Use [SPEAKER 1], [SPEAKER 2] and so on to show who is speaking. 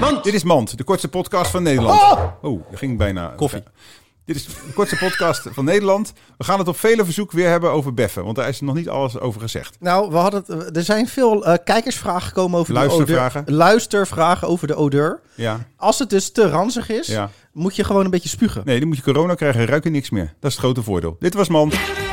[SPEAKER 1] Mand.
[SPEAKER 2] Dit is Mand, de kortste podcast van Nederland.
[SPEAKER 1] Oh!
[SPEAKER 2] oh dat ging bijna.
[SPEAKER 1] Koffie.
[SPEAKER 2] Ja. Dit is de kortste podcast van Nederland. We gaan het op vele verzoek weer hebben over beffen, want daar is nog niet alles over gezegd.
[SPEAKER 1] Nou, we hadden het, er zijn veel eh, kijkersvragen gekomen over de
[SPEAKER 2] Luistervragen.
[SPEAKER 1] odeur. Luistervragen over de odeur.
[SPEAKER 2] Ja,
[SPEAKER 1] Als het dus te ranzig is,
[SPEAKER 2] ja.
[SPEAKER 1] moet je gewoon een beetje spugen.
[SPEAKER 2] Nee, dan moet je corona krijgen, ruik je niks meer. Dat is het grote voordeel. Dit was Mand.